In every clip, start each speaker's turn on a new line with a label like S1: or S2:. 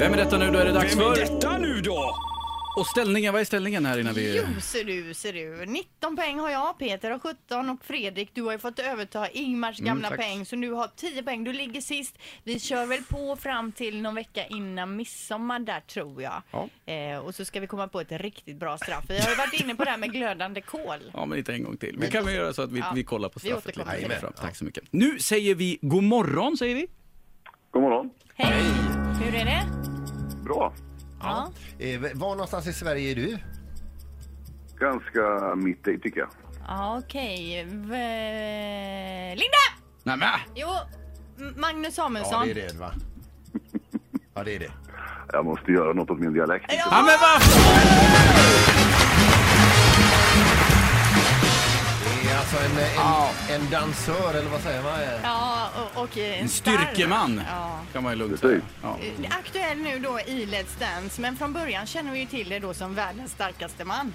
S1: Vem är detta nu? Då är det dags
S2: Vem är
S1: för...
S2: detta nu då?
S1: Och ställningen, vad är ställningen här innan vi...
S3: Jo, ser du, ser du. 19 poäng har jag, Peter har 17 och Fredrik, du har ju fått överta Ingmars gamla
S1: tack.
S3: poäng. Så nu har 10 poäng, du ligger sist. Vi kör väl på fram till någon vecka innan midsommar där tror jag.
S1: Ja.
S3: Eh, och så ska vi komma på ett riktigt bra straff. Vi har ju varit inne på det här med glödande kol.
S1: Ja, men inte en gång till. Men kan vi göra så att vi,
S3: Ja.
S1: vi kollar på
S3: Vi
S1: straffet
S3: återkommer till
S1: lite
S3: det.
S1: fram. Tack så mycket. Nu säger vi god morgon, säger vi.
S4: God morgon.
S3: Hej! Hur är det?
S4: Bra.
S3: Ja.
S5: Eh, var någonstans i Sverige är du?
S4: Ganska mitt i, tycker jag.
S3: Ja, okej. V- Linda!
S1: Nej, men.
S3: Jo, M- Magnus
S5: Ja,
S3: Samuelsson.
S5: det är det va? Ja, det är det.
S4: Jag måste göra något åt min dialekt.
S3: Ja.
S1: Ja, men vad
S5: Det är alltså en, en, en dansör eller vad säger man?
S3: Ja, och, och en
S1: En
S3: stark.
S1: styrkeman,
S3: Ja.
S1: kan man ju lugnt säga.
S4: Precis.
S1: Ja.
S3: Eh, Aktuell nu då i Let's Dance, men från början känner vi ju till dig då som världens starkaste man.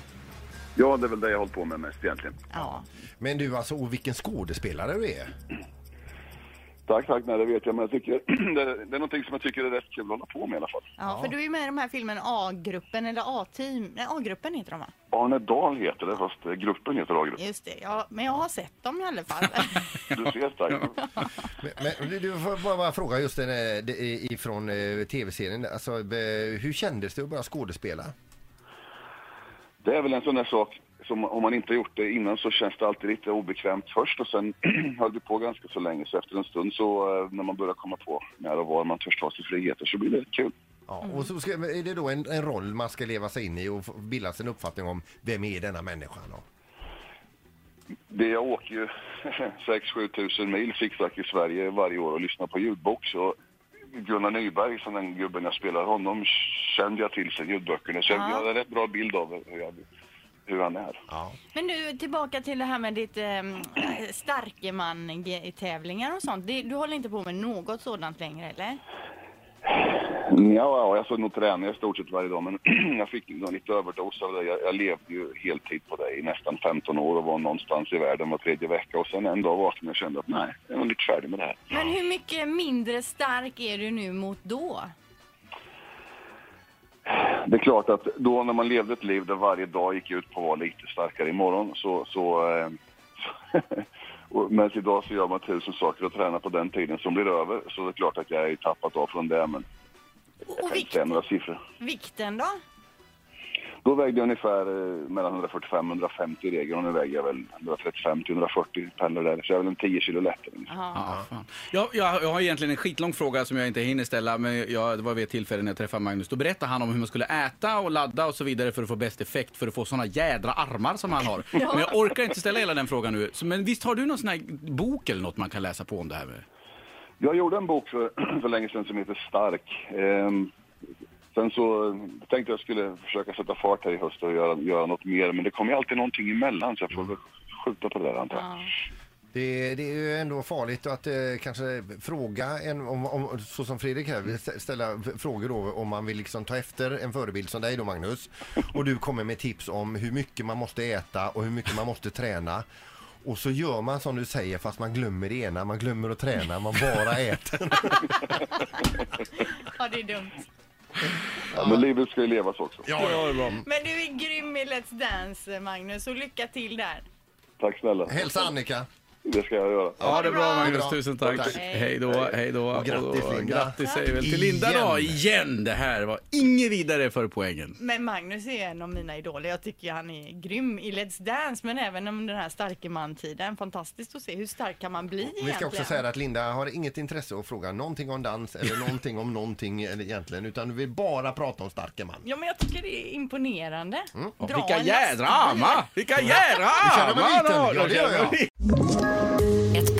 S4: Ja, det är väl det jag har hållit på med mest egentligen.
S3: Ja.
S5: Men du alltså, och vilken skådespelare du är.
S4: Tack, tack. Nej, det vet jag, men jag tycker, det, det är någonting som jag tycker är rätt kul att hålla på med i alla fall.
S3: Ja, för du är ju med i de här filmen A-gruppen eller A-team. Nej, A-gruppen heter de va?
S4: Arne Dahl heter det, fast eh, gruppen heter A-gruppen.
S3: Just det, ja, men jag har sett dem i alla fall.
S4: Du ser starkt.
S5: Men, men du- du får bara, bara fråga just den eh, det är ifrån eh, tv-serien. Alltså, eh, hur kändes det att börja skådespela?
S4: Det är väl en sån där sak som om man inte har gjort det innan så känns det alltid lite obekvämt först och sen höll vi på ganska så länge så efter en stund så eh, när man börjar komma på när och var man törs ta sig friheter så blir det kul.
S5: Ja, och så ska, är det då en, en roll man ska leva sig in i och få- bilda sin uppfattning om vem är denna människan? Då?
S4: Det jag åker ju 6-7 tusen mil zigzag i Sverige varje år och lyssnar på ljudbok så Gunnar Nyberg, som den gubben jag spelar, honom kände jag till sen ljudböckerna så jag
S3: Ja.
S4: hade en rätt bra bild av hur, jag, hur han är.
S5: Ja.
S3: Men du, tillbaka till det här med ditt ehm, starke man-tävlingar och sånt. Det, du håller inte på med något sådant längre, eller?
S4: Ja, ja, jag såg nog träna i stort sett varje dag, men jag fick nog lite överdos av det. Jag, jag levde ju heltid på det i nästan 15 år och var någonstans i världen var tredje vecka. Och sen en dag vaknade jag och kände att nej, jag är nog lite färdig med det här.
S3: Men hur mycket mindre stark är du nu mot då?
S4: Det är klart att då när man levde ett liv där varje dag gick ut på att vara lite starkare imorgon så... så, eh, så och- men idag så gör man tusen saker och tränar på den tiden som blir över. Så det är klart att jag är tappat av från det, men
S3: Och, och
S4: jag kan inte
S3: vikt,
S4: säga några siffror.
S3: vikten då?
S4: Då vägde jag ungefär eh, mellan 145-150 i regeln och nu väger jag väl 135-140 pennor där. Så jag är väl en 10 kilo lättare.
S3: Ja.
S1: Ja, fan. Jag, jag, jag har egentligen en skitlång fråga som jag inte hinner ställa, men jag, det var vid ett tillfälle när jag träffade Magnus. Då berättade han om hur man skulle äta och ladda och så vidare för att få bäst effekt, för att få såna jädra armar som han har. Men jag orkar inte ställa hela den frågan nu. Så, men visst har du någon sån här bok eller något man kan läsa på om det här med?
S4: Jag gjorde en bok för, för länge sedan som heter Stark. Ehm, sen så tänkte jag skulle försöka sätta fart här i höst och göra, göra något mer. Men det kommer ju alltid någonting emellan så jag får väl skjuta på det där antar jag.
S3: Ja.
S5: Det, det är ju ändå farligt att eh, kanske fråga, en, om, om, så som Fredrik här, vill stä- ställa f- frågor då om man vill liksom ta efter en förebild som dig då Magnus. Och du kommer med tips om hur mycket man måste äta och hur mycket man måste träna. Och så gör man som du säger fast man glömmer det ena, man glömmer att träna, man bara äter.
S3: ja, det är dumt.
S4: Ja, men livet ska ju levas också.
S5: Ja, ja, bra.
S3: Men du är grym i Let's Dance, Magnus, och lycka till där.
S4: Tack snälla.
S5: Hälsa Annika!
S4: Det ska jag göra.
S1: Ja, det är bra Magnus.
S5: Bra.
S1: Tusen tack.
S5: Tack.
S1: Hej då, hej då.
S5: Och grattis,
S1: Och
S5: Linda.
S1: Grattis säger vi väl till
S5: Tack.
S1: Linda då,
S5: Igen.
S1: igen. Det här var inget vidare för poängen.
S3: Men Magnus är en av mina idoler. Jag tycker han är grym i Let's Dance, men även om den här starke man-tiden. Fantastiskt att se hur stark kan man bli
S5: Vi ska
S3: egentligen?
S5: också säga att Linda har inget intresse av att fråga någonting om dans eller någonting om någonting eller egentligen utan vi bara prata om starka man.
S3: Ja, men jag tycker det är imponerande.
S5: Mm.
S3: Dra
S1: Vilka
S3: en
S1: jädra
S3: lastbil.
S1: armar! Vilka jädra
S5: känner mig
S1: armar!
S5: liten.
S1: då!
S5: Ja, det gör jag.
S6: Ett